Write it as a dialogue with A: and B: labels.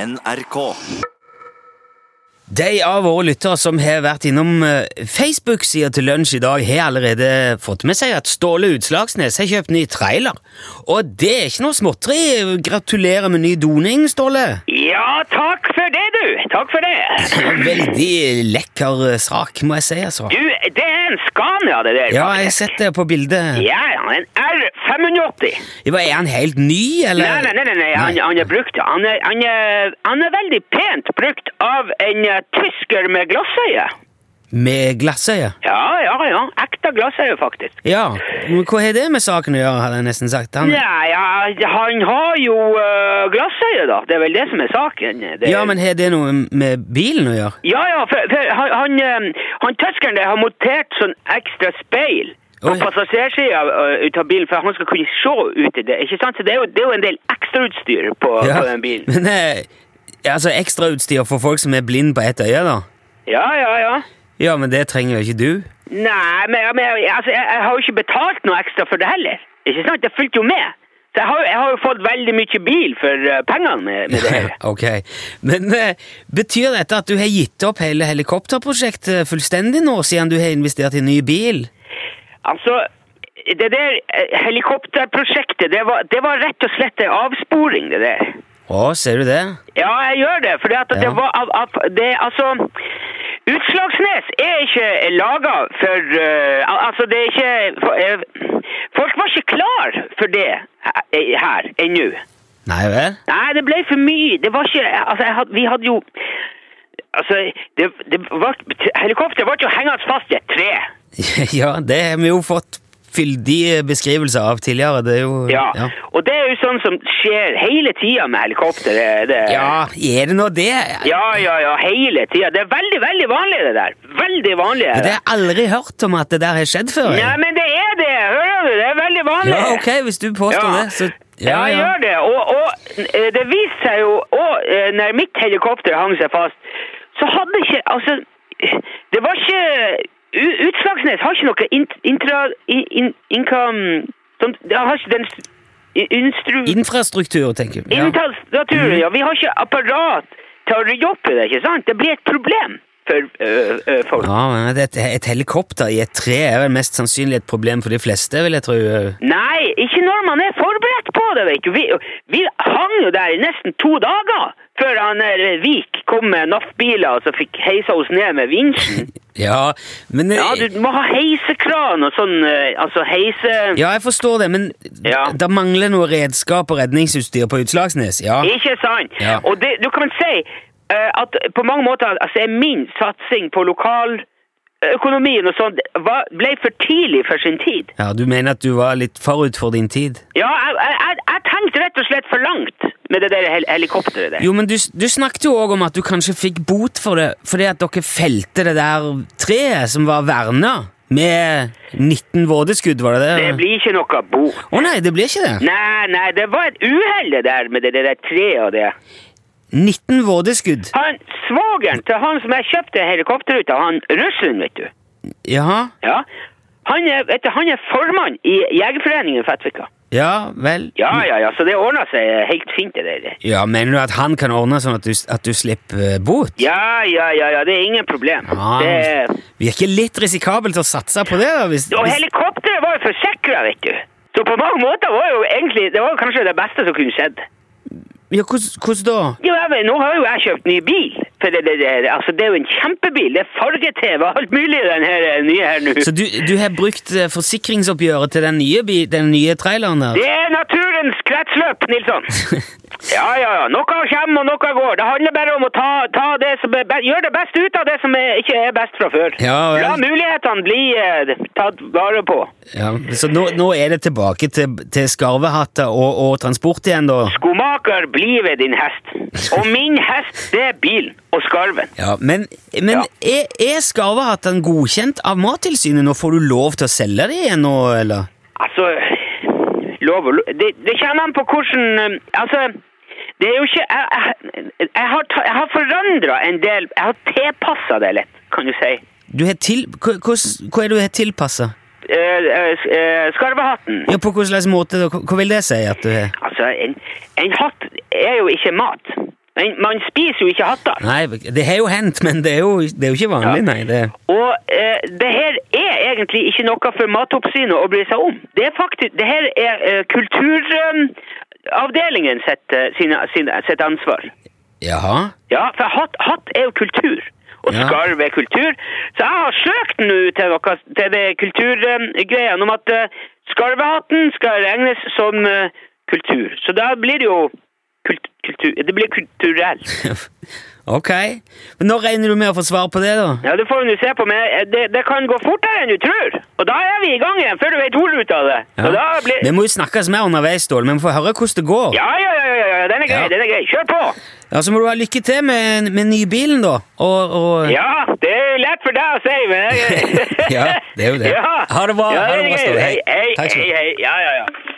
A: NRK.
B: De av våre lyttere som har vært innom eh, Facebook-sida til lunsj i dag, har allerede fått med seg at Ståle Utslagsnes har kjøpt ny trailer. Og det er ikke noe småtteri. Gratulerer med ny doning, Ståle.
C: Ja, takk for det, du. Takk for det.
B: Veldig lekker eh, sak, må jeg si, altså.
C: Du, det er en Scania, det der.
B: Ja, jeg har sett det på bildet.
C: Ja, ja, en R580.
B: Ja, Er han helt ny,
C: Nei,
B: eller?
C: nei, nei, nei, nei. Han, han er brukt. Han er, han, er, han er veldig pent brukt av en eh, tysker med glassøye.
B: Med glassøye?
C: Ja, ja, ja. Ekte glassøye, faktisk.
B: Ja. Men hva har det med saken å gjøre, hadde jeg nesten sagt. Han...
C: Nei, ja, han har jo eh, glassøye, da. Det er vel det som er saken. Det,
B: Ja, men har det noe med bilen å gjøre?
C: Ja, ja, for, for han, han, eh, han tyskeren der har montert sånn ekstra speil på
B: Oi.
C: passasjersida eh, ut av bilen, for at han skal kunne se ut i det. ikke sant? Så Det er jo, det er jo en del ekstrautstyr på,
B: Ja,
C: på den bilen.
B: Men eh, altså ekstrautstyr for folk som er blind på ett øye, da?
C: Ja, ja, ja.
B: Ja, men det trenger jo ikke du.
C: Nei, men, men altså, jeg, jeg har jo ikke betalt noe ekstra for det heller. Ikke sant? Det fulgte jo med. Så jeg har, jo- jeg har jo fått veldig mye bil for eh, pengene med, med det her.
B: ok. Men eh, betyr dette at du har gitt opp hele helikopterprosjektet fullstendig nå, siden du har investert i en ny bil?
C: Altså, det der eh, helikopterprosjektet, det var, det var rett og slett en avsporing, det der.
B: Å, ser du det?
C: Ja, jeg gjør det, for at
B: Ja.
C: det var av, av, det, altså, Utslagsnes er ikke laget for, eh, al- altså det er ikke, for, eh, folk var ikke klar for det he- her, ennå.
B: Nei vel?
C: Nei, det ble for mye, det var ikke, altså jeg had, vi hadde jo, altså det, det var, helikopteret ble jo hengende fast i et tre.
B: ja, det har vi jo fått fyldige beskrivelser av tidligere. Det er jo
C: Ja.
B: ja.
C: og det er jo sånn som skjer hele tiden med helikopter. Det, det,
B: Ja, er det nå det?
C: ja, ja, ja, hele tiden. Det er veldig, veldig vanlig det der. Veldig vanlig.
B: Det har jeg aldri hørt om at det der har skedd før. jeg.
C: Nei, men det er det! Hører du? Det er veldig vanlig.
B: Ja, ok, hvis du påstår
C: Ja.
B: det, så
C: Ja, jeg gjør det. Og, og eh, det viste seg jo òg, når mitt helikopter hang seg fast, så hadde ikke Altså, det var ikke U- Utslagsnes har ikke noe int- intra... In, in, income sånn, Det har ikke den st- i- instru...
B: Infrastruktur, tenker du. Ja. Mm.
C: Inntalsstaturen, ja. Vi har ikke apparat til å rydde opp i det, ikke sant? Det blir et problem for eh, eh, folk.
B: Ja, men et, et helikopter i et tre er vel mest sannsynlig et problem for de fleste, vil jeg tro.
C: Nei, ikke når man er forberedt på det, vet du. Vi, vi hang jo der i nesten to dager før han der Vik kom med NAF-biler og så fikk heisa oss ned med vinsjen.
B: Ja, men
C: Ja, du må ha heisekran og sånn, eh, altså heise...
B: Ja, jeg forstår det, men
C: Ja.
B: det mangler noe redskap og redningsutstyr på Utslagsnes. Ja,
C: Ikke sant?
B: Ja.
C: Og det, du kan si eh, at på mange måter altså, er min satsing på lokaløkonomien og sånn var- ble for tidlig for sin tid.
B: ja du mener at du var litt forut for din tid?
C: Ja, jeg, jeg, jeg- jeg tenkte rett og slett for langt med det der hel helikopteret der.
B: Jo, men du, du snakket jo òg om at du kanskje fikk bot for det fordi at dere felte det der treet som var verna, med 19 vådeskudd, var det det?
C: Det blir ikke noe bo.
B: Å nei, det blir ikke det.
C: Nei, nei, det var et uheld det der med det, det der treet og det.
B: 19 vådeskudd.
C: Han, svageren til han som jeg kjøpte helikopter ut av, han russeren, vet du.
B: Jaha?
C: Ja. Han er, vet du, han er formann i Jegerforeningen i Fettvika.
B: Ja vel.
C: Ja, ja, ja, så det ordnet seg helt fint det der.
B: Ja, Mener du at han kan ordne sånn at du, at du slipper eh, bot?
C: Ja, ja, ja, ja, det er ingen problem.
B: Ja,
C: Det,
B: Virker litt risikabelt å satse på det, da. Hvis,
C: og
B: hvis-
C: helikopteret var jo forsikret, vet du. Så på mange måter var jo egentlig, det var jo kanskje det beste som kunne skjedd.
B: ja, hvordan- hvordan da?
C: Jo, jeg vet, nå har jo jeg kjøpt ny bil. For det, det, det, altså, det er jo en kjempebil. Det er farge-TV og alt mulig i den her eh, nye her nå.
B: Så du, du har brukt eh, forsikringsoppgjøret til den nye, bi- den nye traileren der?
C: Det er naturens kretsløp, Nilsson. Ja, ja, ja. Noe kommer og noe går. Det handler bare om å ta, ta det som er best. Gjør det best ut av det som er, ikke er best fra før.
B: Ja, vel.
C: La mulighetene bli eh, tatt vare på.
B: ja, så nå, nå er det tilbake til, til skarvehatter og, og transport igjen, da?
C: Skomaker, bli ved din hest. Og min hest, det er bilen og skarven.
B: Ja, Men, men
C: Ja.
B: er, er skarvehattene godkjent av Mattilsynet? Nå får du lov til å selge dem igjen nå, eller?
C: Altså, lov og lov det, det kommer an på hvordan eh, Altså, det er jo ikke Jeg, jeg, jeg har, ta- jeg har forandra en del Jeg har tilpassa det litt, kan du si.
B: Du har til, hva, hvordan- hva er det du har tilpassa?
C: Eh, eh, s- eh, skarvehatten.
B: Ja, på hvilken slags måte? da? Hva hva vil det si at du har
C: Altså, en, en hatt er jo ikke mat. Men man spiser jo ikke hatter.
B: Nei, det har jo hendt, men det er jo, det er jo ikke vanlig,
C: Ja.
B: nei. Det.
C: Og eh, det her er egentlig ikke noe for Matoppsynet å bry seg om. Det er faktisk, det her er eh, kulturavdelingen sitt, eh, sine- sine- sitt ansvar.
B: Jaha.
C: Ja, for hatt, hatt er jo kultur. Og
B: Ja.
C: skarv er kultur. Så jeg har søkt nå til, noe, til det kulturgreia om at eh, skarvehatten skal regnes som eh, kultur. Så da blir det jo kult, kultur, det blir kulturelt.
B: ok. Men når regner du med å få svar på det, da?
C: Ja, det får vi nå se på, men eh, det, det kan gå fortere enn du tror. Og da er vi i gang igjen, før du vet ordet ut av det.
B: Ja.
C: Og da blir...
B: Vi må jo snakkes mer underveis, Ståle. Vi må få høre hvordan det går.
C: Ja, ja, ja, ja, ja, ja, den er grei,
B: Ja.
C: den er grei. Kjør på!
B: Ja, Så må du ha lykke til med, med nybilen, da. Og, og
C: Ja, det er jo lett for deg å si, men jeg...
B: Ja, det er jo det.
C: Ja.
B: Ha det bra,
C: Ja,
B: ha det bra,
C: greit.
B: Ståle. Hei.
C: Hei,
B: Takk skal du
C: hei,
B: ha.
C: hei. Ja, ja, ja.